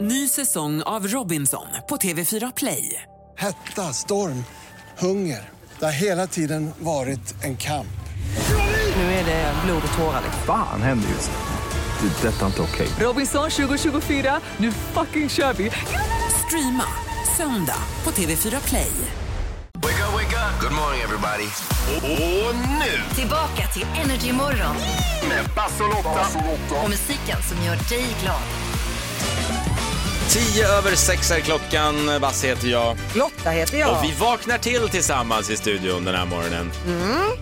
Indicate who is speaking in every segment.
Speaker 1: Ny säsong av Robinson på TV4 Play.
Speaker 2: Hetta, storm, hunger. Det har hela tiden varit en kamp.
Speaker 1: Nu är det blod och tårar. liksom.
Speaker 3: Fan händer just nu. Det. är Detta är inte okej.
Speaker 1: Robinson 2024, nu fucking kör vi! Streama söndag på TV4 Play.
Speaker 4: Wake up, wake up. Good morning everybody. Och, och nu
Speaker 5: Tillbaka till Energy Morgon
Speaker 4: med Basse och Lotta.
Speaker 5: och musiken som gör dig glad.
Speaker 6: Tio över sex är klockan, Basse heter jag.
Speaker 7: Lotta heter jag.
Speaker 6: Och vi vaknar till tillsammans i studion den här morgonen.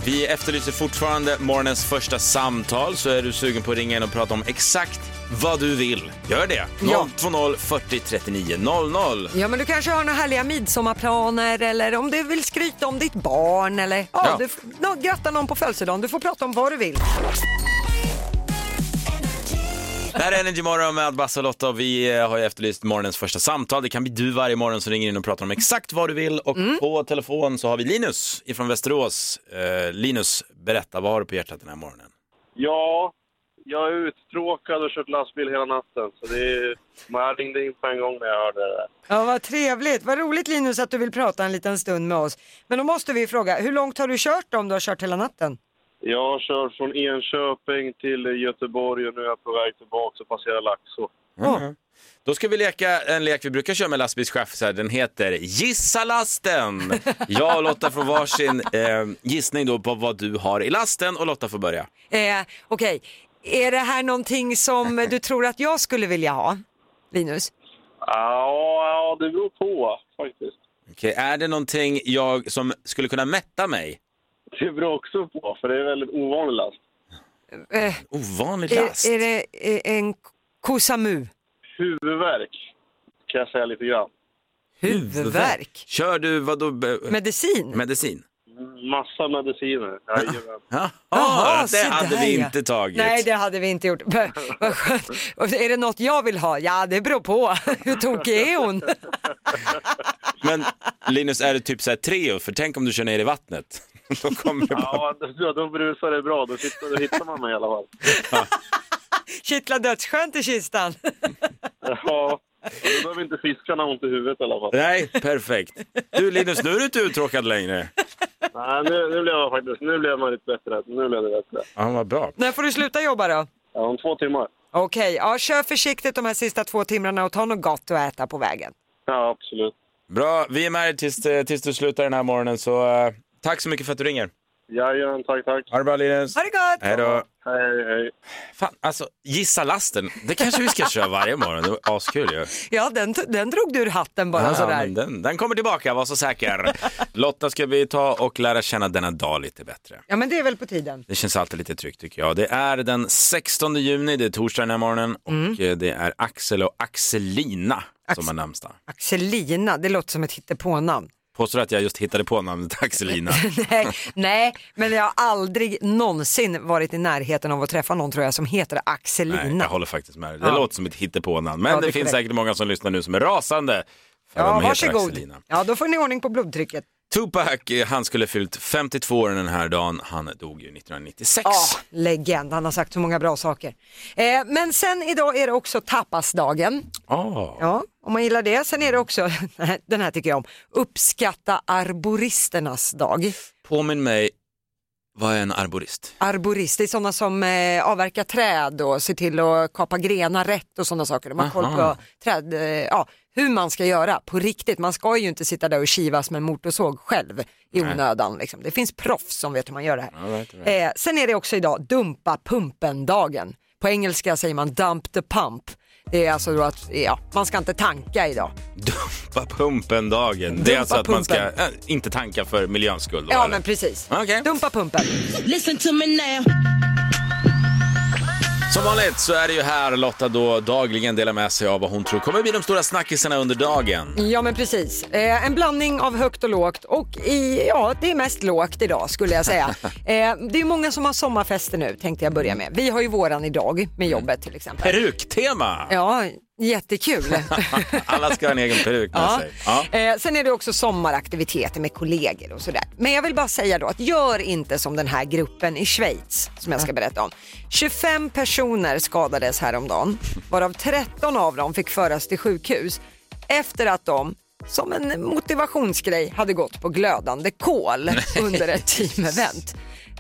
Speaker 6: Vi efterlyser fortfarande morgonens första samtal, så är du sugen på att ringa in och prata om exakt vad du vill. Gör det!
Speaker 7: Ja.
Speaker 6: 020 40 39 00.
Speaker 7: Ja men du kanske har några härliga midsommarplaner eller om du vill skryta om ditt barn eller ja,
Speaker 6: Ja.
Speaker 7: Du, f- nå, gratta någon på födelsedagen. Du får prata om vad du vill.
Speaker 6: Det här är Energy Morgon med Basse och Lotta och vi eh, har ju efterlyst morgonens första samtal. Det kan bli du varje morgon som ringer in och pratar om exakt vad du vill. Och på telefon så har vi Linus ifrån Västerås. Eh, Linus, berätta, vad har du på hjärtat den här morgonen?
Speaker 8: Ja, jag är uttråkad och kört lastbil hela natten. Så det är, man ringde in på en gång när jag hörde det där.
Speaker 7: Ja vad trevligt. Vad roligt Linus att du vill prata en liten stund med oss. Men då måste vi fråga, hur långt har du kört då, om du har kört hela natten?
Speaker 8: Jag har kört från Enköping till Göteborg och nu är jag på väg tillbaka och passerar Laxå.
Speaker 6: Då ska vi leka en lek vi brukar köra med lastbilschaffisar. Den heter Gissa lasten! Jag och Lotta får varsin eh, gissning då på vad du har i lasten och Lotta får börja.
Speaker 7: Eh, Okej, är det här någonting som du tror att jag skulle vilja ha? Linus?
Speaker 8: Ja, ja, det beror på faktiskt.
Speaker 6: Okej, är det någonting jag som skulle kunna mätta mig?
Speaker 8: Det beror också på, för det är väldigt ovanlig last.
Speaker 7: Eh,
Speaker 6: Ovanlig last.
Speaker 7: är, är det eh, en kosamu?
Speaker 8: Huvudvärk kan jag säga lite grann.
Speaker 7: Huvudvärk?
Speaker 6: Kör du vadå? be-
Speaker 7: Medicin?
Speaker 6: medicin?
Speaker 8: Massa mediciner. Jajamän.
Speaker 6: Ja.
Speaker 7: Jaha,
Speaker 6: Ah, det
Speaker 7: se
Speaker 6: hade
Speaker 7: där,
Speaker 6: vi
Speaker 7: ja.
Speaker 6: inte tagit.
Speaker 7: Nej, det hade vi inte gjort. Vad skönt. Och Är det något jag vill ha? Ja, det beror på. Hur tokig är hon?
Speaker 6: Men Linus, är det typ så här Treo? För tänk om du kör ner i vattnet. Då kommer det bara...
Speaker 8: Ja, då, då brusar det bra. Då hittar, då hittar man mig i alla fall.
Speaker 7: Kittla dödsskönt i kistan.
Speaker 8: Ja, då behöver inte fiskarna ha ont i huvudet i alla fall.
Speaker 6: Nej, perfekt. Du Linus, nu är du inte uttråkad längre.
Speaker 8: Nej, nu, nu blev jag faktiskt, nu blev man lite bättre. Nu blev det bättre.
Speaker 6: Ja, vad bra.
Speaker 7: När får du sluta jobba då?
Speaker 8: Ja, om två timmar.
Speaker 7: Okej, ja, kör försiktigt de här sista två timmarna och ta något gott att äta på vägen.
Speaker 8: Ja, absolut.
Speaker 6: Bra, vi är med dig tills, eh, tills du slutar den här morgonen. Så eh, tack så mycket för att du ringer.
Speaker 8: Jajamän, tack, tack.
Speaker 6: Ha det bra Linus.
Speaker 7: Ha det gott!
Speaker 6: Hej då.
Speaker 8: Hej, hej, hej.
Speaker 6: Fan, alltså gissa lasten. Det kanske vi ska köra varje morgon. Det var askul ju.
Speaker 7: Ja, den, den drog du ur hatten bara
Speaker 6: Ja,
Speaker 7: sådär.
Speaker 6: men den, den kommer tillbaka, var så säker. Lotta ska vi ta och lära känna denna dag lite bättre.
Speaker 7: Ja, men det är väl på tiden.
Speaker 6: Det känns alltid lite tryggt tycker jag. Det är den 16 juni, det är torsdag den här morgonen och
Speaker 7: Mm.
Speaker 6: eh, det är Axel och Axelina som har namnsdag.
Speaker 7: Axelina, det låter som ett hittepånamn.
Speaker 6: Påstår att jag just hittade på namnet Axelina.
Speaker 7: Nej, nej, men jag har aldrig någonsin varit i närheten av att träffa någon tror jag som heter Axelina.
Speaker 6: Nej, jag håller faktiskt med dig. Det låter som ett hittepånamn. Men
Speaker 7: Ja,
Speaker 6: det,
Speaker 7: det är
Speaker 6: finns
Speaker 7: korrekt.
Speaker 6: säkert många som lyssnar nu som är rasande. För
Speaker 7: Ja,
Speaker 6: de heter
Speaker 7: varsågod.
Speaker 6: Axelina.
Speaker 7: Ja, då får ni ordning på blodtrycket.
Speaker 6: Tupac, eh, han skulle fyllt 52 år den här dagen. Han dog ju 1996.
Speaker 7: Ja, legend. Han har sagt så många bra saker. Eh, men sen idag är det också tapasdagen.
Speaker 6: Ah.
Speaker 7: Ja, om man gillar det. Sen är det också, den här tycker jag om, uppskatta arboristernas dag.
Speaker 6: Påminn mig, vad är en arborist?
Speaker 7: Arborist, det är sådana som eh, avverkar träd och ser till att kapa grenar rätt och sådana saker. De har koll på träd, eh, ja, hur man ska göra på riktigt. Man ska ju inte sitta där och kivas med en motorsåg själv i onödan. Liksom. Det finns proffs som vet hur man gör det här. Eh, sen är det också idag dumpa pumpen-dagen. På engelska säger man dump the pump. Det är alltså då att ja, man ska inte tanka idag.
Speaker 6: Dumpa pumpen-dagen. det är
Speaker 7: Dumpa
Speaker 6: alltså att man ska
Speaker 7: pumpen.
Speaker 6: eh, inte tanka för miljöns skull. Då,
Speaker 7: Ja
Speaker 6: eller?
Speaker 7: men precis.
Speaker 6: Okej.
Speaker 7: Dumpa pumpen.
Speaker 6: Som vanligt så är det ju här Lotta då dagligen delar med sig av vad hon tror kommer bli de stora snackisarna under dagen.
Speaker 7: Ja men precis. Eh, en blandning av högt och lågt och i, ja det är mest lågt idag skulle jag säga. eh, det är många som har sommarfester nu tänkte jag börja med. Vi har ju våran idag med jobbet till exempel.
Speaker 6: Peruktema!
Speaker 7: Ja, Jättekul.
Speaker 6: Alla ska ha en egen peruk med
Speaker 7: Ja.
Speaker 6: sig. Ja.
Speaker 7: Eh, sen är det också sommaraktiviteter med kollegor och sådär. Men jag vill bara säga då att gör inte som den här gruppen i Schweiz som jag ska berätta om. 25 personer skadades häromdagen varav 13 av dem fick föras till sjukhus efter att de som en motivationsgrej hade gått på glödande kol under ett team-event.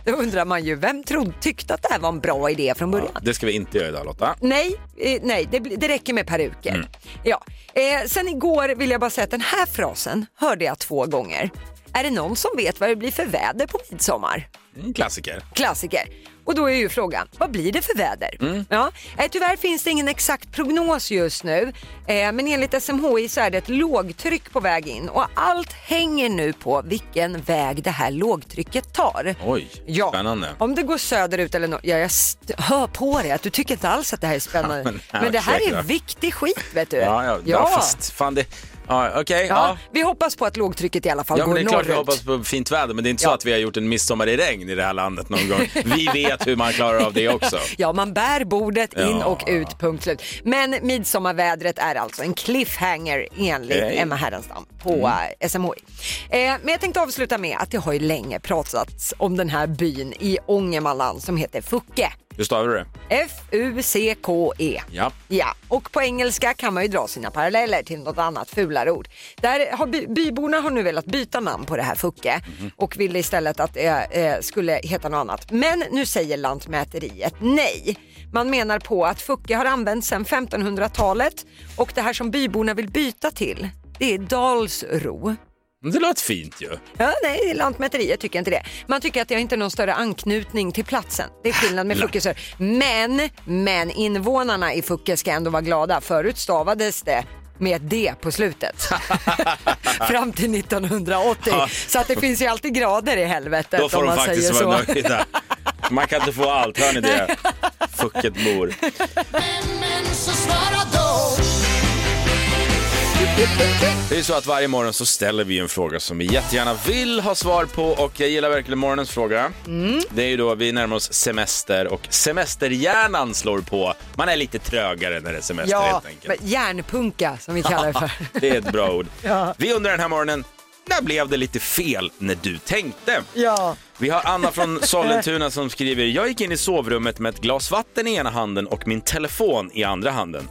Speaker 7: Då undrar man ju, vem trodde, tyckte att det här var en bra idé från början?
Speaker 6: Det ska vi inte göra idag Lotta.
Speaker 7: Nej, eh, nej det, blir- det räcker med peruker. Ja. Eh, sen igår vill jag bara säga att den här frasen hörde jag två gånger. Är det någon som vet vad det blir för väder på midsommar?
Speaker 6: En klassiker.
Speaker 7: Klassiker. Och då är ju frågan, vad blir det för väder? Ja. Eh, tyvärr finns det ingen exakt prognos just nu, eh, men enligt SMHI så är det ett lågtryck på väg in och allt hänger nu på vilken väg det här lågtrycket tar.
Speaker 6: Oj,
Speaker 7: Ja.
Speaker 6: spännande.
Speaker 7: Om det går söderut eller något, ja, jag st- hör på dig att du tycker inte alls att det här är spännande.
Speaker 6: Ja, men-
Speaker 7: men,
Speaker 6: ja,
Speaker 7: det här
Speaker 6: säkert.
Speaker 7: är viktig skit vet du.
Speaker 6: Ja, ja, ja. fast fan det... Ja, okej.
Speaker 7: Ja,
Speaker 6: ja.
Speaker 7: Vi hoppas på att lågtrycket i alla fall
Speaker 6: Ja, men
Speaker 7: går
Speaker 6: det är klart vi
Speaker 7: norrut.
Speaker 6: hoppas på fint väder, men det är inte så
Speaker 7: Ja.
Speaker 6: att vi har gjort en midsommar i regn i det här landet någon gång. Vi vet hur man klarar av det också.
Speaker 7: Ja, man bär bordet in
Speaker 6: Ja.
Speaker 7: och ut, punkt slut. Men midsommarvädret är alltså en cliffhanger enligt
Speaker 6: Okej.
Speaker 7: Emma Härenstam på
Speaker 6: Mm.
Speaker 7: eh, SMHI. Eh, men jag tänkte avsluta med att det har ju länge pratats om den här byn i Ångermanland som heter Fucke.
Speaker 6: Hur stavar du det?
Speaker 7: F-U-C-K-E.
Speaker 6: Ja.
Speaker 7: E. ja. Och på engelska kan man ju dra sina paralleller till något annat fulare ord. Där har by- byborna har nu velat byta namn på det här Fucke och ville istället att det eh, skulle heta något annat. Men nu säger Lantmäteriet nej. Man menar på att Fucke har använts sedan 1500-talet och det här som byborna vill byta till det är Dalsro.
Speaker 6: Men Det låter fint ju.
Speaker 7: Ja, nej, Lantmäteriet tycker inte det. Man tycker att det har inte någon större anknytning till platsen. Det är skillnad med Fuckesö. Men, men invånarna i Fucke ska ändå vara glada. Förut stavades det med ett D på slutet. Fram till 1980. Så att det finns ju alltid grader i helvetet
Speaker 6: Då får
Speaker 7: om
Speaker 6: de
Speaker 7: man
Speaker 6: faktiskt
Speaker 7: säger
Speaker 6: vara
Speaker 7: så.
Speaker 6: nöjda. Man kan inte få allt, hör ni det? Fucket mor. Det är ju så att varje morgon så ställer vi en fråga som vi jättegärna vill ha svar på och jag gillar verkligen morgonens fråga.
Speaker 7: Mm.
Speaker 6: Det är ju då vi närmar oss semester och semesterhjärnan slår på. Man är lite trögare när det är semester
Speaker 7: Ja,
Speaker 6: helt enkelt.
Speaker 7: men järnpunka som vi kallar det för.
Speaker 6: Det är ett bra ord. Vi undrar den här morgonen, när blev det lite fel när du tänkte?
Speaker 7: Ja.
Speaker 6: Vi har Anna från Sollentuna som skriver, jag gick in i sovrummet med ett glas vatten i ena handen och min telefon i andra handen.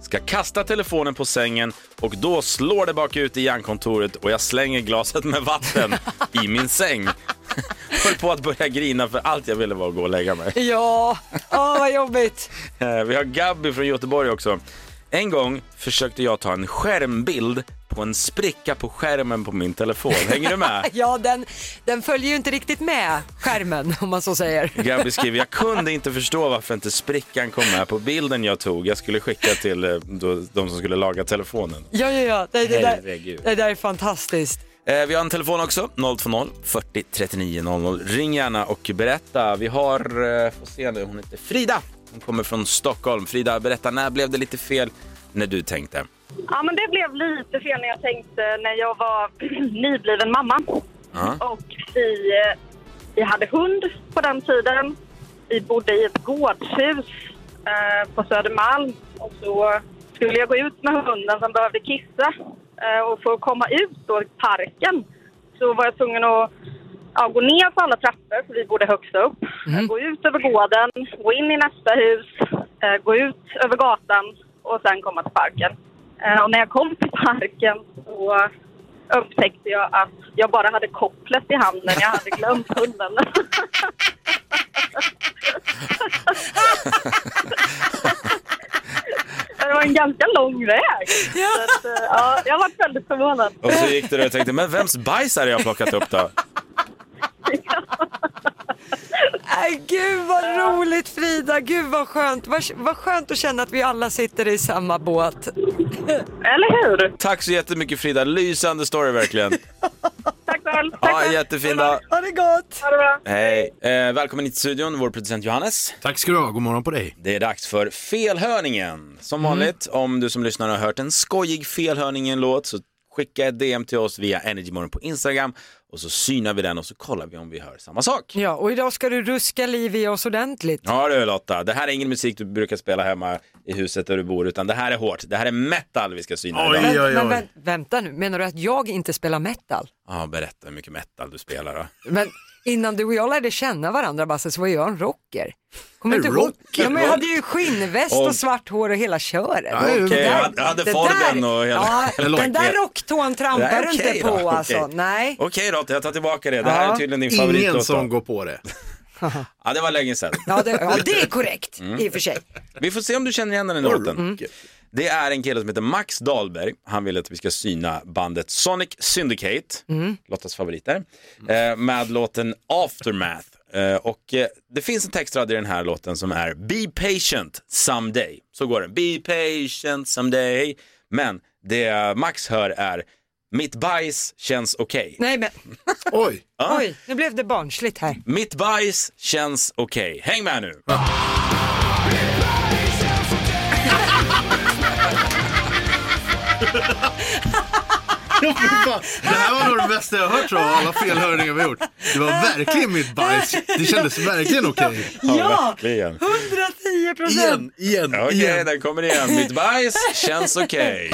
Speaker 6: Ska kasta telefonen på sängen och då slår det bakut i hjärnkontoret och jag slänger glaset med vatten i min säng. Höll på att börja grina för allt jag ville var att gå och lägga mig.
Speaker 7: Ja, oh, vad jobbigt.
Speaker 6: Eh, Vi har Gabby från Göteborg också. En gång försökte jag ta en skärmbild på en spricka på skärmen på min telefon. Hänger du med?
Speaker 7: Ja, den, den följer ju inte riktigt med skärmen om man så säger.
Speaker 6: Gabby skriver, jag kunde inte förstå varför inte sprickan kom med på bilden jag tog. Jag skulle skicka till eh, då, de som skulle laga telefonen.
Speaker 7: Ja, ja, ja. Det, det, där,
Speaker 6: Herregud.
Speaker 7: det där är fantastiskt.
Speaker 6: Eh, vi har en telefon också, 020 40 39 00. Ring gärna och berätta. Vi har, eh, får se nu, hon heter Frida. Hon kommer från Stockholm. Frida, berätta, när blev det lite fel när du tänkte?
Speaker 9: Ja, men det blev lite fel när jag tänkte när jag var nybliven mamma.
Speaker 6: Ja.
Speaker 9: Och vi, eh, vi hade hund på den tiden. Vi bodde i ett gårdshus eh, på Södermalm. Och så skulle jag gå ut med hunden som behövde kissa. Eh, och för att komma ut då i parken så var jag tvungen att ja, gå ner på alla trappor, för vi bodde högst upp. Gå ut över gården, gå in i nästa hus, eh, gå ut över gatan och sen komma till parken. Eh, och när jag kom till parken så upptäckte jag att jag bara hade kopplet i handen. Jag hade glömt hunden. Det var en ganska lång väg. Så att, eh, ja, jag var väldigt förvånad.
Speaker 6: Och så gick du där och tänkte, men vems bajs är det jag har plockat upp då?
Speaker 7: Nej, Äh, gud vad roligt Frida, gud vad skönt. Vad, vad skönt att känna att vi alla sitter i samma båt.
Speaker 9: Eller hur?
Speaker 6: Tack så jättemycket Frida, lysande story verkligen.
Speaker 9: Tack väl. Tack
Speaker 6: Ja,
Speaker 9: väl.
Speaker 6: jättefin dag.
Speaker 7: Ha det gott!
Speaker 9: Ha det bra.
Speaker 6: Hej. Eh, välkommen hit till studion, vår producent Johannes.
Speaker 10: Tack ska du ha, god morgon på dig.
Speaker 6: Det är dags för
Speaker 3: Mm.
Speaker 6: felhörningen. Som vanligt, om du som lyssnar har hört en skojig felhörning i en låt så Skicka ett DM till oss via Energymorgon på Instagram och så synar vi den och så kollar vi om vi hör samma sak.
Speaker 7: Ja, och idag ska du ruska liv i oss ordentligt.
Speaker 6: Ja du Lotta, det här är ingen musik du brukar spela hemma i huset där du bor utan det här är hårt. Det här är metal vi ska syna
Speaker 7: Men,
Speaker 6: idag.
Speaker 3: Oj, oj,
Speaker 7: men
Speaker 3: oj.
Speaker 7: vänt- vänta nu, menar du att jag inte spelar metal?
Speaker 6: Ja, berätta hur mycket metal du spelar då.
Speaker 7: Men innan du och jag lärde känna varandra Basse så var jag en rocker. Kommer du inte ihåg?
Speaker 3: Rocker?
Speaker 7: Ja, men jag hade ju skinnväst och,
Speaker 6: Och-
Speaker 7: svart hår och hela köret.
Speaker 6: okej,
Speaker 7: Det
Speaker 6: jag hade- jag hade
Speaker 7: det
Speaker 6: Forden
Speaker 7: där-
Speaker 6: och hela-
Speaker 7: ja,
Speaker 6: hela
Speaker 7: Den där
Speaker 6: locket.
Speaker 7: rocktån trampar
Speaker 6: Nej,
Speaker 7: du
Speaker 6: okej
Speaker 7: inte på
Speaker 6: då, okej.
Speaker 7: alltså. Nej.
Speaker 6: Okej Lotta, jag tar tillbaka det. Det här
Speaker 7: Ja.
Speaker 6: är tydligen din
Speaker 3: Ingen
Speaker 6: favoritlåt.
Speaker 3: som
Speaker 6: då.
Speaker 3: går på det.
Speaker 6: Ja, det var länge sedan.
Speaker 7: Ja det, ja, det är korrekt
Speaker 6: Mm.
Speaker 7: i och för sig.
Speaker 6: Vi får se om du känner igen den här låten.
Speaker 7: Mm.
Speaker 6: Det är en kille som heter Max Dahlberg. Han vill att vi ska syna bandet Sonic Syndicate, Lottas favoriter, eh, med låten Aftermath. Eh, Och eh, det finns en textrad i den här låten som är Be patient someday. Så går den. Be patient someday. Men det Max hör är Mitt bajs känns okej.
Speaker 7: Nej men
Speaker 3: Oj,
Speaker 7: oj, nu blev det barnsligt här.
Speaker 6: Mitt bajs känns okej. Häng med nu!
Speaker 3: fan. det här var nog det bästa jag har hört tror jag, av alla felhörningar vi har gjort. Det var verkligen mitt bajs. Det kändes verkligen okej.
Speaker 7: Ja,
Speaker 6: verkligen.
Speaker 7: 110 procent.
Speaker 3: Igen, igen,
Speaker 6: Okej,
Speaker 3: igen.
Speaker 6: den kommer igen. Mitt bajs känns okej.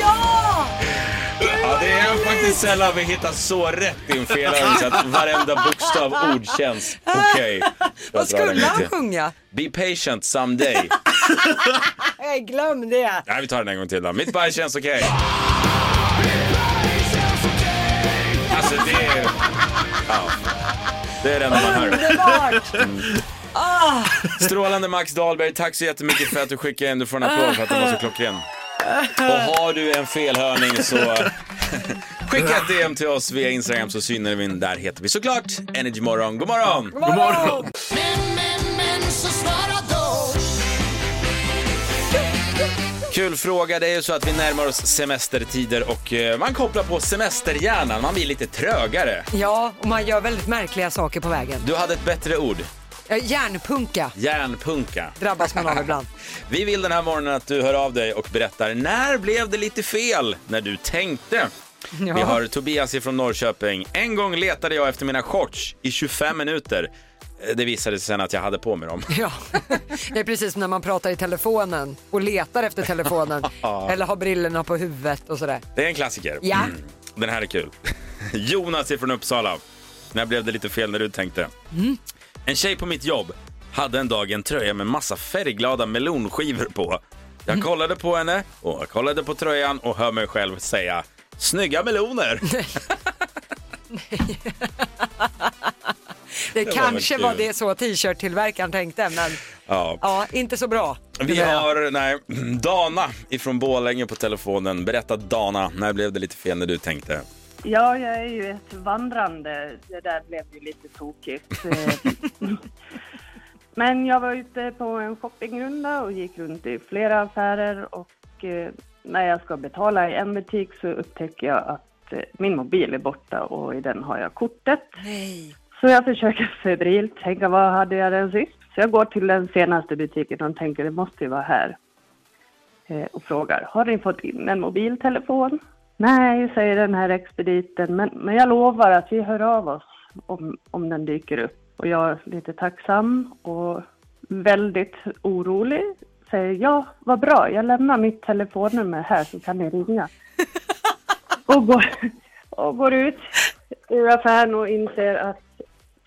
Speaker 7: Ja!
Speaker 6: Ja, det är faktiskt sällan vi hittar så rätt i en felövning så att varenda bokstav ord känns okej.
Speaker 7: Vad skulle han sjunga?
Speaker 6: Be patient someday.
Speaker 7: Nej, glöm det.
Speaker 6: Nej, vi tar den en gång till då. Mitt bajs känns okej. Alltså det är... Ja. Det är det enda man hör.
Speaker 7: Underbart.
Speaker 6: Strålande Max Dahlberg, tack så jättemycket för att du skickade in. Du får en applåd för att den var så klockren. Och har du en felhörning så skicka ett DM till oss via Instagram så synar vi in. Där heter vi såklart Energymorgon. God morgon!
Speaker 3: God morgon.
Speaker 6: Kul fråga. Det är ju så att vi närmar oss semestertider och eh, man kopplar på semesterhjärnan. Man blir lite trögare.
Speaker 7: Ja, och man gör väldigt märkliga saker på vägen.
Speaker 6: Du hade ett bättre ord.
Speaker 7: Eh, Järnpunka
Speaker 6: Järnpunka.
Speaker 7: drabbas man av ibland.
Speaker 6: Vi vill den här morgonen att du hör av dig och berättar när blev det lite fel när du tänkte? Vi har Tobias från Norrköping. En gång letade jag efter mina shorts i 25 minuter. Eh, Det visade sig sen att jag hade på mig dem.
Speaker 7: Ja, det är precis som när man pratar i telefonen och letar efter telefonen eller har brillorna på huvudet och sådär.
Speaker 6: Det är en klassiker. Mm.
Speaker 7: Ja.
Speaker 6: Den här är kul. Jonas från Uppsala. När blev det lite fel när du tänkte? En tjej på mitt jobb hade en dag en tröja med massa färgglada melonskivor på. Jag kollade på henne och jag kollade på tröjan och hör mig själv säga Snygga meloner!
Speaker 7: Det,
Speaker 6: var
Speaker 7: kanske
Speaker 6: väl
Speaker 7: var,
Speaker 6: kul.
Speaker 7: det så t-shirt-tillverkaren tänkte, men
Speaker 6: Ja.
Speaker 7: ja, inte så bra.
Speaker 6: Vi har nej, Dana ifrån Borlänge på telefonen. Berätta Dana, när blev det lite fel när du tänkte?
Speaker 9: Ja, jag är ju ett vandrande. Det där blev ju lite tokigt. Eh, Men jag var ute på en shoppingrunda och gick runt i flera affärer och eh, när jag ska betala i en butik så upptäcker jag att eh, min mobil är borta och i den har jag kortet.
Speaker 7: Nej.
Speaker 9: Så jag försöker febrilt tänka, vad hade jag den sist? Så jag går till den senaste butiken och tänker, det måste ju vara här. Eh, och frågar, har ni fått in en mobiltelefon? Nej, säger den här expediten, men, men jag lovar att vi hör av oss om, om den dyker upp. Och jag är lite tacksam och väldigt orolig. Säger, ja, vad bra, jag lämnar mitt telefonnummer här så kan ni ringa och går, och går ut ur affären och inser att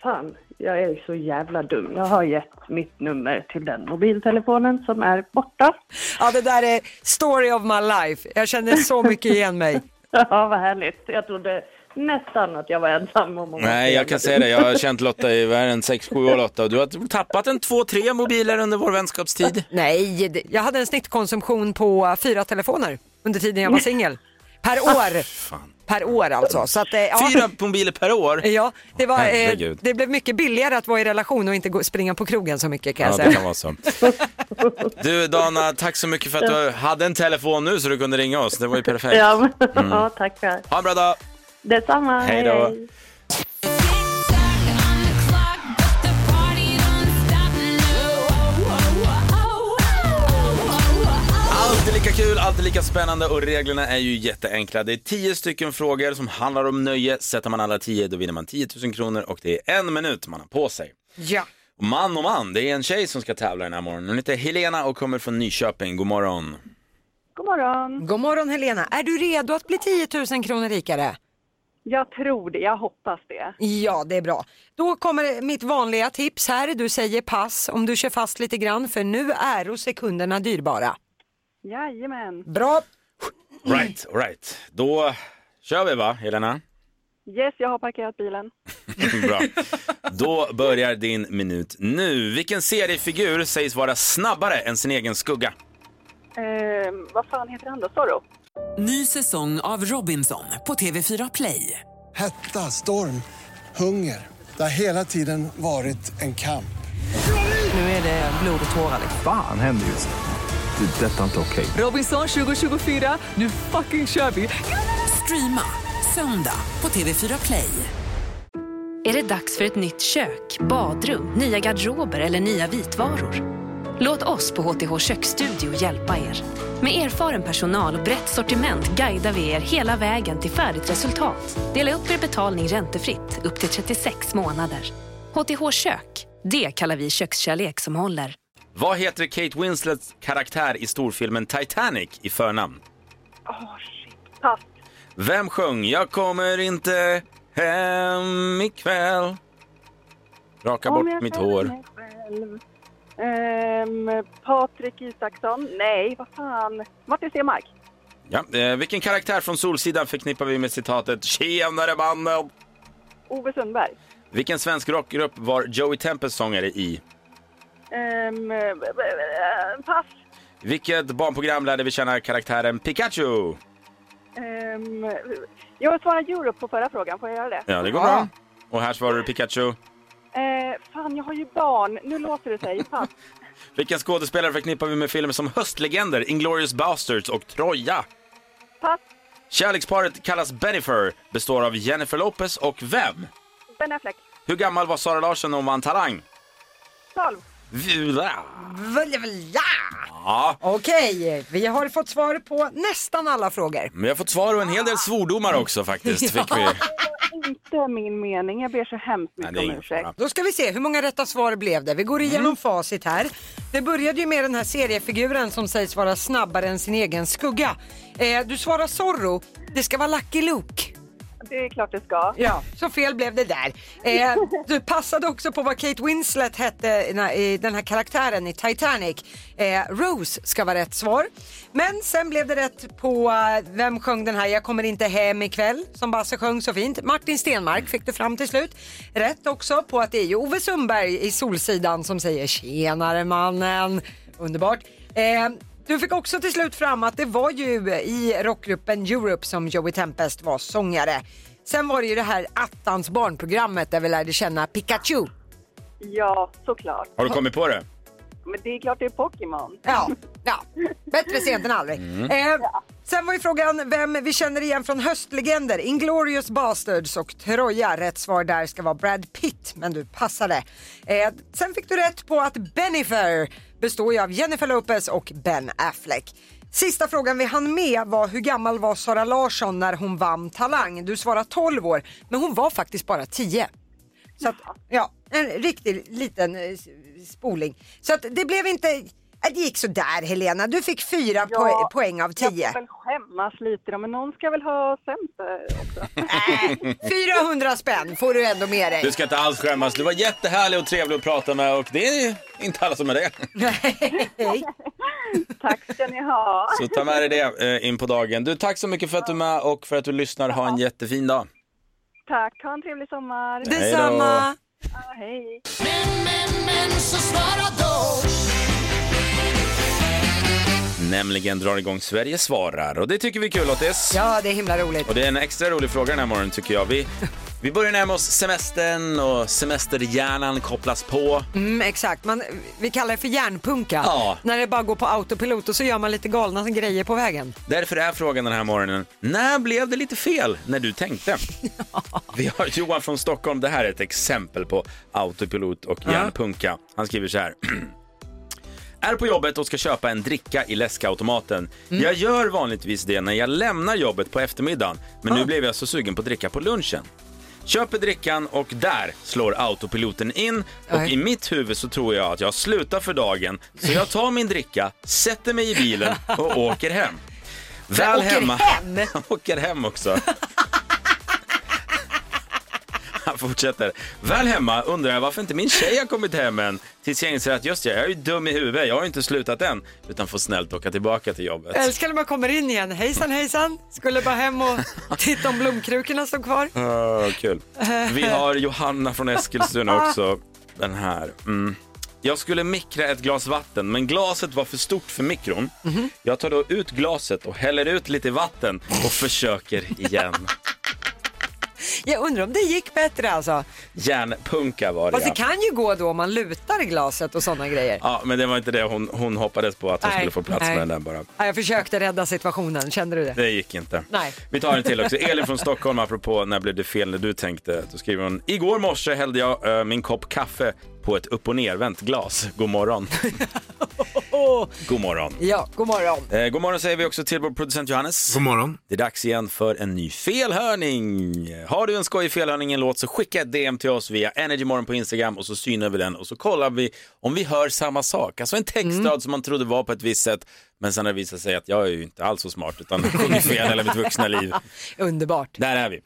Speaker 9: fan, jag är ju så jävla dum. Jag har gett mitt nummer till den mobiltelefonen som är borta.
Speaker 7: Ja, det där är story of my life. Jag känner så mycket igen mig.
Speaker 9: Ja, vad härligt. Jag trodde nästan att jag var ensam om att vara
Speaker 6: Nej, jag
Speaker 9: jävla
Speaker 6: kan säga
Speaker 9: dum.
Speaker 6: det. Jag har känt Lotta i världen 6-7 år Lotta och du har tappat en 2-3 mobiler under vår vänskapstid.
Speaker 7: Nej, det- jag hade en snittkonsumtion på fyra telefoner under tiden jag var singel. Per år. Per år alltså. Så att, eh, ja.
Speaker 6: Ah, Fyra mobiler per år.
Speaker 7: Ja, det, var, eh,
Speaker 6: Herregud.
Speaker 7: det blev mycket billigare att vara i relation och inte gå, springa på krogen så mycket kan jag
Speaker 6: Ja,
Speaker 7: säga.
Speaker 6: det kan vara så. Du Dana, tack så mycket för att du hade en telefon nu så du kunde ringa oss. Det var ju perfekt.
Speaker 9: Ja, men- ja, tackar.
Speaker 6: Ha en bra dag!
Speaker 9: Detsamma.
Speaker 6: Hej då. alltid lika spännande och reglerna är ju jätteenkla. Det är tio stycken frågor som handlar om nöje. Sätter man alla tio då vinner man 10 000 kronor och det är en minut man har på sig.
Speaker 7: Ja.
Speaker 6: Och Man och man, det är en tjej som ska tävla den här morgonen. Hon heter Helena och kommer från Nyköping. God morgon.
Speaker 9: God morgon.
Speaker 7: God morgon Helena, är du redo att bli 10 000 kronor rikare?
Speaker 9: Jag tror det, jag hoppas det.
Speaker 7: Ja, det är bra. Då kommer mitt vanliga tips här. Du säger pass om du kör fast lite grann för nu är sekunderna dyrbara.
Speaker 9: Jajamän.
Speaker 7: Bra,
Speaker 6: Right, right. Då kör vi va, Helena?
Speaker 9: Yes, jag har parkerat bilen.
Speaker 6: Bra. Då börjar din minut nu. Vilken seriefigur sägs vara snabbare än sin egen skugga?
Speaker 9: Ehm, vad fan heter han då? Zorro?
Speaker 1: Ny säsong av Robinson på TV4 Play.
Speaker 2: Hetta, storm, hunger. Det har hela tiden varit en kamp.
Speaker 1: Nu är det blod och tårar. liksom.
Speaker 10: Fan händer just nu. Det. är Detta är inte okej.
Speaker 1: Robinson 2024, nu fucking kör vi! Streama söndag på TV4 Play.
Speaker 11: Är det dags för ett nytt kök, badrum, nya garderober eller nya vitvaror? Låt oss på HTH Köksstudio hjälpa er. Med erfaren personal och brett sortiment guidar vi er hela vägen till färdigt resultat. Dela upp er betalning räntefritt upp till 36 månader. HTH Kök, det kallar vi kökskärlek som håller.
Speaker 6: Vad heter Kate Winslets karaktär i storfilmen Titanic i förnamn?
Speaker 9: Åh, shit. Pass.
Speaker 6: Vem sjöng Jag kommer inte hem ikväll? Raka
Speaker 9: Om
Speaker 6: bort
Speaker 9: jag
Speaker 6: mitt
Speaker 9: känner
Speaker 6: hår.
Speaker 9: mig själv. Ehm, Patrik Isaksson? Nej, vad fan. Martin Stenmark?
Speaker 6: Ja. Eh, vilken karaktär från Solsidan förknippar vi med citatet “Tjenare mannen”?
Speaker 9: Ove Sundberg?
Speaker 6: Vilken svensk rockgrupp var Joey Tempest sångare i?
Speaker 9: Ehm, eh, eh, pass.
Speaker 6: Vilket barnprogram lärde vi känna karaktären Pikachu?
Speaker 9: Ehm, jag svarade Europe på förra frågan, får jag göra det?
Speaker 6: Ja, det går bra. Och här svarar du Pikachu.
Speaker 9: Ehm, fan, jag har ju barn. Nu låter det sig. Pass.
Speaker 6: Vilken skådespelare förknippar vi med filmer som Höstlegender, Inglourious Basterds och Troja?
Speaker 9: Pass.
Speaker 6: Kärleksparet kallas Bennifer, består av Jennifer Lopez och vem?
Speaker 9: Ben Affleck?
Speaker 6: Hur gammal var Sara Larsson när hon vann Talang?
Speaker 9: 12.
Speaker 6: Vula.
Speaker 7: Väl- väl- ja!
Speaker 6: Ja,
Speaker 7: Okej, vi har fått svar på nästan alla frågor.
Speaker 6: men jag har fått svar och en hel del svordomar också faktiskt. Fick vi.
Speaker 9: Inte min mening. Jag ber så hemskt
Speaker 6: Nej,
Speaker 9: mycket
Speaker 6: det är
Speaker 9: om
Speaker 6: ingen
Speaker 9: ursäkt.
Speaker 6: fara.
Speaker 7: Då ska vi se hur många rätta svar blev det. Vi går igenom facit här. Det började ju med den här seriefiguren som sägs vara snabbare än sin egen skugga. Eh, du svarar Zorro, det ska vara Lucky Luke.
Speaker 9: Det är klart det ska.
Speaker 7: Ja, så fel blev det där. Eh, du passade också på vad Kate Winslet hette i den här- i den här karaktären i Titanic. Eh, Rose ska vara rätt svar. Men sen blev det rätt på eh, vem sjöng den här Jag kommer inte hem ikväll som Basse sjöng så fint. Martin Stenmark fick du fram till slut. Rätt också på att det är ju Ove Sundberg i Solsidan som säger tjenare mannen. Underbart. Eh, du fick också till slut fram att det var ju i rockgruppen Europe som Joey Tempest var sångare. Sen var det ju det här attans barnprogrammet där vi lärde känna Pikachu.
Speaker 9: Ja, såklart.
Speaker 6: Har du kommit på det?
Speaker 9: Men det är klart det är Pokémon.
Speaker 7: Ja, ja. bättre sent än aldrig. Eh, sen var ju frågan vem vi känner igen från höstlegender, Inglourious Basterds och Troja. Rätt svar där ska vara Brad Pitt, men du passade. Eh, sen fick du rätt på att Bennifer består ju av Jennifer Lopez och Ben Affleck. Sista frågan vi hann med var hur gammal var Sara Larsson när hon vann Talang? Du svarade 12 år, men hon var faktiskt bara 10. Så att, ja, en riktig liten eh, s- spoling. Så att det blev inte, eh, det gick sådär Helena. Du fick fyra
Speaker 9: Ja,
Speaker 7: poä- poäng av tio.
Speaker 9: Jag får väl skämmas lite då, men någon ska väl ha center också.
Speaker 7: Äh, 400 spänn får du ändå med
Speaker 6: Du
Speaker 7: dig.
Speaker 6: ska inte alls skämmas. Du var jättehärlig och trevlig att prata med och det är inte alla som är det.
Speaker 7: Nej.
Speaker 9: Tack ska ni ha.
Speaker 6: Så ta med dig det eh, in på dagen. Du, tack så mycket för att du är med och för att du lyssnar. Ha en jättefin dag.
Speaker 9: Tack, ha en trevlig sommar.
Speaker 6: då.
Speaker 7: Detsamma.
Speaker 9: Ja, hej.
Speaker 6: Nämligen drar igång Sverige svarar och det tycker vi är kul Lottis.
Speaker 7: Ja, det är himla roligt.
Speaker 6: Och det är en extra rolig fråga den här morgonen tycker jag. Vi, vi börjar närma oss semestern och semesterhjärnan kopplas på.
Speaker 7: Mm, exakt, man, vi kallar det för hjärnpunka.
Speaker 6: Ja.
Speaker 7: När det bara går på autopilot och så gör man lite galna grejer på vägen.
Speaker 6: Därför är frågan den här morgonen, när blev det lite fel när du tänkte? Vi har Johan från Stockholm, det här är ett exempel på autopilot och hjärnpunka. Han skriver så här. Är på jobbet och ska köpa en dricka i läskautomaten. Jag gör vanligtvis det när jag lämnar jobbet på eftermiddagen, men nu blev jag så sugen på att dricka på lunchen. Köper drickan och där slår autopiloten in och
Speaker 7: Oj.
Speaker 6: i mitt huvud så tror jag att jag slutar för dagen så jag tar min dricka, sätter mig i bilen och åker hem. Väl
Speaker 7: åker
Speaker 6: hemma.
Speaker 7: hem?
Speaker 6: åker hem också. Han fortsätter. Väl hemma undrar jag varför inte min tjej har kommit hem än. Tills jag inser att just det, jag är ju dum i huvudet, jag har ju inte slutat än. Utan får snällt åka tillbaka till jobbet.
Speaker 7: Jag älskar när man kommer in igen. Hejsan hejsan, skulle bara hem och titta om blomkrukorna står kvar.
Speaker 6: Ah, kul. Vi har Johanna från Eskilstuna också. Den här. Mm. Jag skulle mikra ett glas vatten, men glaset var för stort för mikron.
Speaker 7: Mhm.
Speaker 6: Jag tar då ut glaset och häller ut lite vatten och försöker igen.
Speaker 7: Jag undrar om det gick bättre alltså.
Speaker 6: Järnpunka var det,
Speaker 7: Fast det kan ju gå då om man lutar glaset och sådana grejer.
Speaker 6: Ja, men det var inte det hon, hon hoppades på, att hon
Speaker 7: Nej,
Speaker 6: skulle få plats
Speaker 7: nej.
Speaker 6: med den där bara.
Speaker 7: Ja, Jag försökte rädda situationen, kände du det?
Speaker 6: Det gick inte.
Speaker 7: Nej.
Speaker 6: Vi tar en till också. Elin från Stockholm, apropå när blev det fel när du tänkte. Då skriver hon, igår morse hällde jag eh, min kopp kaffe på ett upp och nervänt glas. God morgon. God morgon.
Speaker 7: Ja, god morgon.
Speaker 6: Eh, god morgon säger vi också till vår producent Johannes. God
Speaker 3: morgon.
Speaker 6: Det är dags igen för en ny felhörning. Har du en skojig felhörning i en låt så skicka ett DM till oss via Energymorgon på Instagram och så synar vi den och så kollar vi om vi hör samma sak. Alltså en textrad
Speaker 7: Mm.
Speaker 6: som man trodde var på ett visst sätt men sen har det visat sig att jag är ju inte alls så smart utan sjunger fel hela mitt vuxna liv.
Speaker 7: Underbart.
Speaker 6: Där är vi.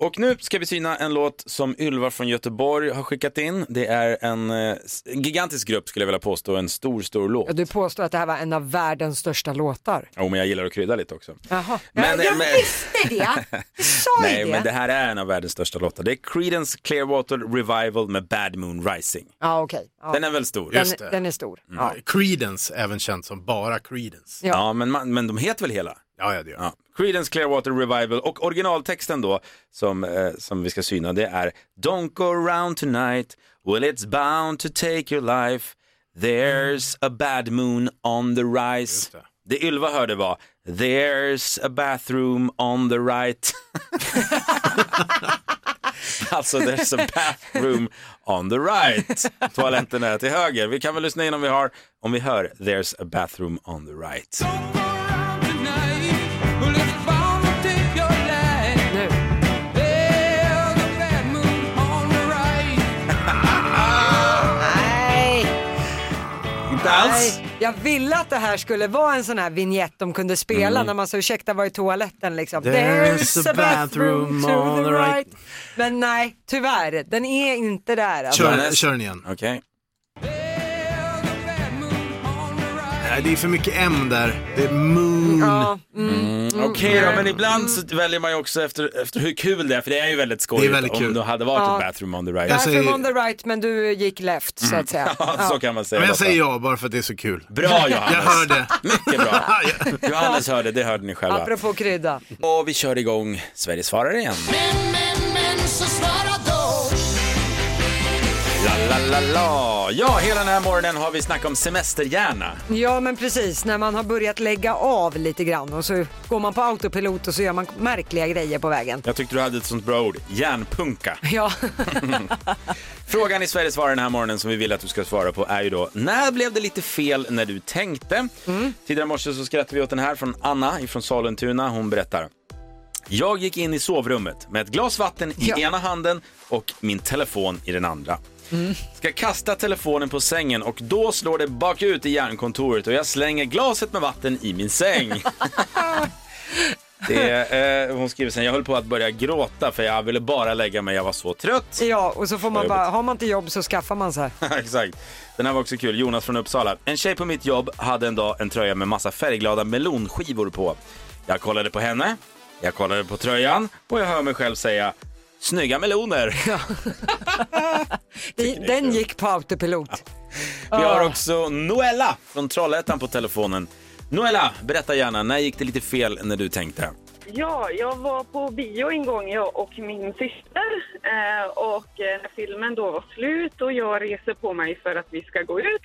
Speaker 6: Och nu ska vi syna en låt som Ylva från Göteborg har skickat in. Det är en eh, s- gigantisk grupp skulle jag vilja påstå, en stor, stor låt.
Speaker 7: Ja, Du påstår att det här var en av världens största låtar.
Speaker 6: Jo, men jag gillar att krydda lite också.
Speaker 7: Jaha.
Speaker 6: Men- eh,
Speaker 7: ja, jag
Speaker 6: men-
Speaker 7: visste det! Du sa ju
Speaker 6: Nej,
Speaker 7: det.
Speaker 6: men det här är en av världens största låtar. Det är Creedence Clearwater Revival med Bad Moon Rising.
Speaker 7: Ja, okej. Ja.
Speaker 6: Den är väl stor?
Speaker 7: Den, den är stor. Ja.
Speaker 3: Creedence, även känd som bara Creedence.
Speaker 7: Ja.
Speaker 6: Ja, men, man, men de heter väl hela?
Speaker 3: Ja, ja det gör
Speaker 6: Ja. Creedence Clearwater Revival och originaltexten då som, eh, som vi ska syna det är Don't go around tonight, well it's bound to take your life, there's a bad moon on the rise.
Speaker 3: det.
Speaker 6: Det. Ylva hörde var There's a bathroom on the right. alltså there's a bathroom on the right. Toaletten är till höger. Vi kan väl lyssna in om vi har, om vi hör There's a bathroom on the right.
Speaker 7: Nu. Nej,
Speaker 6: Inte alls.
Speaker 7: nej. Jag ville att det här skulle vara en sån här vignett de kunde spela
Speaker 6: Mm.
Speaker 7: när man sa ursäkta var i toaletten liksom.
Speaker 3: There's a bathroom on the right.
Speaker 7: Men nej, tyvärr, den är inte där. Alltså.
Speaker 3: Kör, kör den igen.
Speaker 6: Okej.
Speaker 3: Nej, det är för mycket M där. Det är moon.
Speaker 7: Ja, mm.
Speaker 6: Okej då, men ibland så väljer man ju också efter, efter hur kul det är, för det är ju väldigt skojigt
Speaker 3: Det är väldigt
Speaker 6: om
Speaker 3: kul.
Speaker 6: det hade varit
Speaker 7: Ja.
Speaker 6: ett bathroom on the right.
Speaker 3: Jag
Speaker 7: Bathroom
Speaker 3: säger-
Speaker 7: on the right men du gick left så att säga.
Speaker 6: Ja, så kan man säga.
Speaker 3: Men jag
Speaker 6: Lotta.
Speaker 3: säger ja bara för att det är så kul.
Speaker 6: Bra Johannes!
Speaker 3: Jag hör det. Ah,
Speaker 6: Mycket bra. Johannes hörde, det hörde ni själva.
Speaker 7: Apropå krydda.
Speaker 6: Och vi kör igång Sverige svarar igen. La, la, la, la. Ja, hela den här morgonen har vi snackat om semesterhjärna.
Speaker 7: Ja men precis, när man har börjat lägga av lite grann och så går man på autopilot och så gör man märkliga grejer på vägen.
Speaker 6: Jag tyckte du hade ett sånt bra ord, hjärnpunka.
Speaker 7: Ja,
Speaker 6: Frågan i Sverige svarar den här morgonen som vi vill att du ska svara på är ju då när blev det lite fel när du tänkte? Tidigare i morse så skrattade vi åt den här från Anna från Salentuna. Hon berättar. Jag gick in i sovrummet med ett glas vatten i
Speaker 7: Ja.
Speaker 6: ena handen och min telefon i den andra. Ska kasta telefonen på sängen och då slår det bakut i hjärnkontoret och jag slänger glaset med vatten i min säng. Det, eh, hon skriver sen, jag höll på att börja gråta för jag ville bara lägga mig, jag var så trött.
Speaker 7: ja och så får man
Speaker 6: Vad
Speaker 7: bara, har man inte jobb så skaffar man så här.
Speaker 6: Exakt. Den här var också kul. Jonas från Uppsala. En tjej på mitt jobb hade en dag en tröja med massa färgglada melonskivor på. Jag kollade på henne, jag kollade på tröjan och jag hör mig själv säga Snygga meloner!
Speaker 7: Det, den gick på autopilot.
Speaker 6: Vi har också Noella från Trollhättan på telefonen. Noella, berätta gärna, när gick det lite fel när du tänkte?
Speaker 9: Ja, jag var på bio en gång jag och min syster eh, och eh, när filmen då var slut och jag reser på mig för att vi ska gå ut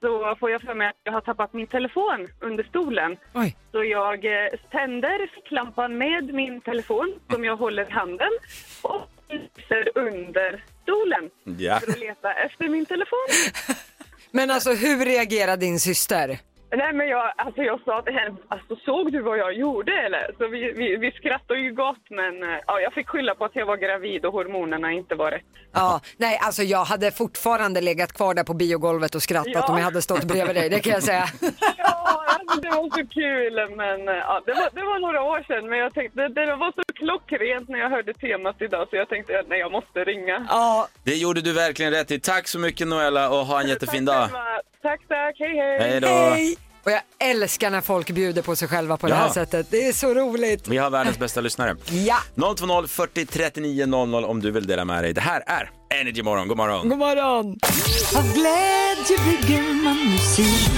Speaker 9: så får jag för mig att jag har tappat min telefon under stolen.
Speaker 7: Oj.
Speaker 9: Så jag eh, tänder ficklampan med min telefon som jag håller i handen och lyser under stolen
Speaker 6: Ja.
Speaker 9: för att leta efter min telefon.
Speaker 7: Men alltså hur reagerade din syster?
Speaker 9: Nej men jag, alltså jag sa till henne, alltså såg du vad jag gjorde eller? Så vi, vi, vi skrattade ju gott men eh, ja, jag fick skylla på att jag var gravid och hormonerna inte var rätt.
Speaker 7: Ja, nej alltså jag hade fortfarande legat kvar där på biogolvet och skrattat
Speaker 9: Ja.
Speaker 7: om jag hade stått bredvid dig, det kan jag säga.
Speaker 9: Ja, alltså, det var så kul men eh, ja, det, var, det var några år sedan men jag tänkte, det, det var så klockrent när jag hörde temat idag så jag tänkte, ja, nej jag måste ringa.
Speaker 7: Ja.
Speaker 6: Det gjorde du verkligen rätt i. Tack så mycket Noella och ha en jättefin dag.
Speaker 9: Tack tack, hej hej!
Speaker 6: Hej då.
Speaker 7: Och jag älskar när folk bjuder på sig själva på det här
Speaker 6: Ja.
Speaker 7: sättet, det är så roligt.
Speaker 6: Vi har världens bästa lyssnare.
Speaker 7: Ja,
Speaker 6: 020 40 39 00 om du vill dela med dig. Det här är Energy Morgon. God morgon.
Speaker 7: god morgon.
Speaker 12: Av glädje bygger man musik.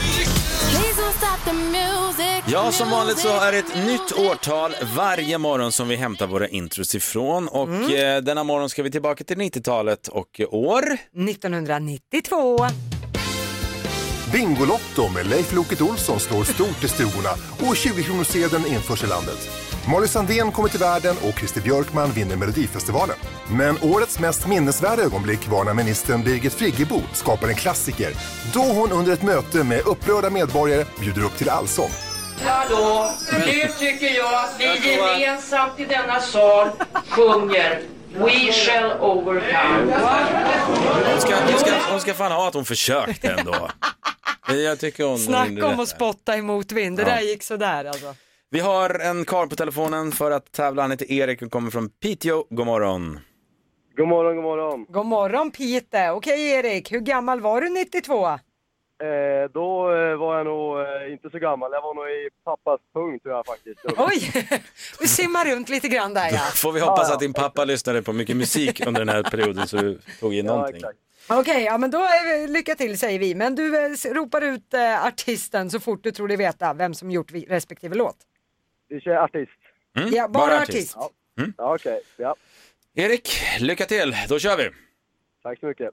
Speaker 6: Ja, som vanligt så är det ett nytt årtal varje morgon som vi hämtar våra intros ifrån. Och
Speaker 7: Mm.
Speaker 6: eh, denna morgon ska vi tillbaka till 90-talet och år.
Speaker 7: 1992.
Speaker 13: Bingolotto med Leif Loket Olsson slår stort i stugorna och 20-kronorssedeln införs i landet. Molly Sandén kommer till världen och Christer Björkman vinner Melodifestivalen. Men årets mest minnesvärda ögonblick var när ministern Birgit Friggebo skapar en klassiker då hon under ett möte med upprörda medborgare bjuder upp till allsång.
Speaker 14: Hallå, nu tycker jag att vi gemensamt i denna sal sjunger We shall overcome.
Speaker 6: Hon ska, hon ska, hon ska fan ha att hon försökte ändå. Eh, Jag tycker hon, hon gjorde
Speaker 7: Snacka om
Speaker 6: rätt
Speaker 7: att spotta i motvind, det
Speaker 6: Ja.
Speaker 7: där gick sådär alltså.
Speaker 6: Vi har en karl på telefonen för att tävla. Han heter Erik och kommer från Piteå. God morgon.
Speaker 8: God morgon, god morgon.
Speaker 7: God morgon Pite, okej Erik, hur gammal var du 92?
Speaker 8: Eh, då eh, var jag nog eh, inte så gammal. Jag var nog i pappas pung tror jag faktiskt.
Speaker 7: Oj, vi simmar runt lite grann där ja.
Speaker 6: Får vi hoppas
Speaker 7: Ja, ja.
Speaker 6: att din pappa lyssnade på mycket musik under den här perioden så du tog in någonting.
Speaker 7: Okej, ja men då är vi, lycka till säger vi. Men du eh, s- ropar ut eh, artisten så fort du tror dig veta vem som gjort vi- respektive låt.
Speaker 8: Vi kör artist.
Speaker 6: Mm,
Speaker 7: Ja, bara bara artist. artist.
Speaker 8: Ja. Ja, Okej, ja.
Speaker 6: Erik, lycka till. Då kör vi.
Speaker 8: Tack så mycket.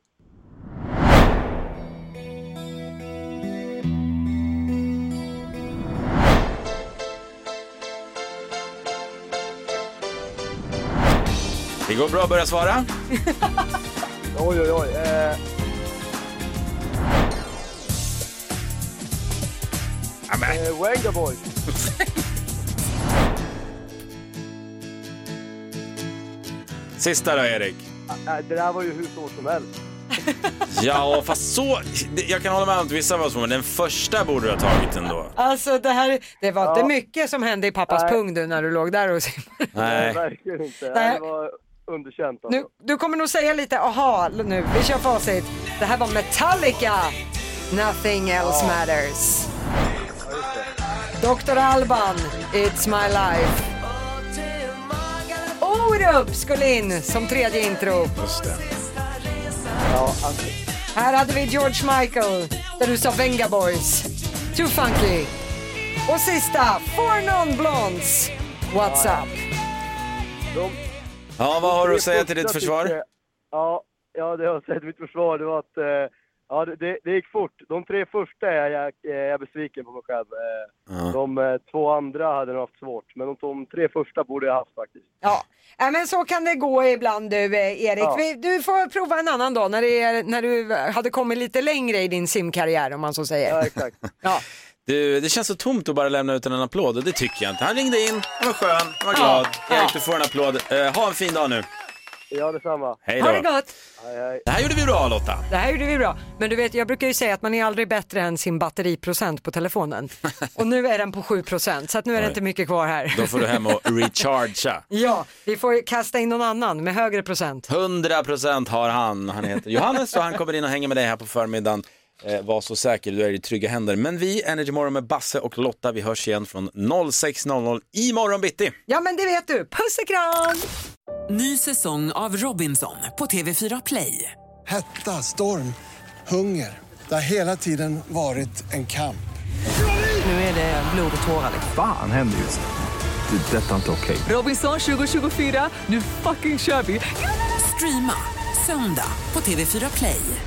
Speaker 6: Det går bra att börja svara.
Speaker 8: Oj, oj, oj. Eh, eh, Wenga Boys.
Speaker 6: Sista då Erik.
Speaker 8: Eh, det där var ju hur svårt som helst.
Speaker 6: Ja, fast så... Jag kan hålla med om att vissa var så, men den första borde du ha tagit ändå.
Speaker 7: Alltså det här, det var
Speaker 8: Ja.
Speaker 7: inte mycket som hände i pappas
Speaker 8: Nej.
Speaker 7: pung du när du låg där och simmade.
Speaker 6: Nej.
Speaker 8: Verkligen inte.
Speaker 7: Nej.
Speaker 8: Det var underkänt alltså.
Speaker 7: Nu, du kommer nog säga lite aha nu, vi kör facit. Det här var Metallica, Nothing else
Speaker 8: Ja.
Speaker 7: matters. Dr. Alban, It's my life. Orup skulle in som tredje intro.
Speaker 6: Just det.
Speaker 8: Ja, alltså,
Speaker 7: Här hade vi George Michael, där du sa Venga Boys. Too funky. Och sista, Four Non-Blondes, What's up?
Speaker 8: de,
Speaker 6: Ja, vad har du att
Speaker 8: Det
Speaker 6: säga till ditt
Speaker 8: första
Speaker 6: försvar?
Speaker 8: tyckte- Ja, ja, det jag säger till mitt försvar det var att eh, ja, det- det, det gick fort. De tre första är jag, eh, jag är jag besviken på mig själv. Eh,
Speaker 6: Ja.
Speaker 8: De eh, två andra hade nog haft svårt, men de, de tre första borde jag haft faktiskt.
Speaker 7: Ja, äh, men så kan det gå ibland du eh, Erik.
Speaker 8: Ja.
Speaker 7: Vi, du får prova en annan dag när, det är, när du eh, hade kommit lite längre i din simkarriär om man så säger. Ja,
Speaker 8: exakt.
Speaker 7: ja.
Speaker 6: Du, det känns så tomt att bara lämna ut en applåd och det tycker jag inte. Han ringde in, han var skön, han var glad. Erik, du får en applåd. Eh, ha en fin dag nu.
Speaker 8: Ja, detsamma.
Speaker 6: Hej
Speaker 7: Ha det
Speaker 6: då.
Speaker 7: gott!
Speaker 8: Hej, hej.
Speaker 6: Det här gjorde vi bra Lotta.
Speaker 7: Det här gjorde vi bra. Men du vet, jag brukar ju säga att man är aldrig bättre än sin batteriprocent på telefonen. Och nu är den på 7% så att nu är det
Speaker 6: Oj.
Speaker 7: inte mycket kvar här.
Speaker 6: Då får du hem och rechargea.
Speaker 7: Ja, vi får ju kasta in någon annan med högre procent.
Speaker 6: 100% har han. Han heter Johannes och han kommer in och hänger med dig här på förmiddagen. Eh, var så säker, du är i trygga händer. Men vi, Energy Morgon med Basse och Lotta, vi hörs igen från 06.00 imorgon bitti.
Speaker 7: Ja, men det vet du. Puss och kram!
Speaker 1: Ny säsong av Robinson på TV4 Play.
Speaker 15: Hetta, storm, hunger. Det har hela tiden varit en kamp.
Speaker 1: Nu är det blod och tårar.
Speaker 16: Fan händer just nu. Det. är Detta är inte okej.
Speaker 1: Robinson 2024, nu fucking kör vi! Streama söndag på TV4 Play.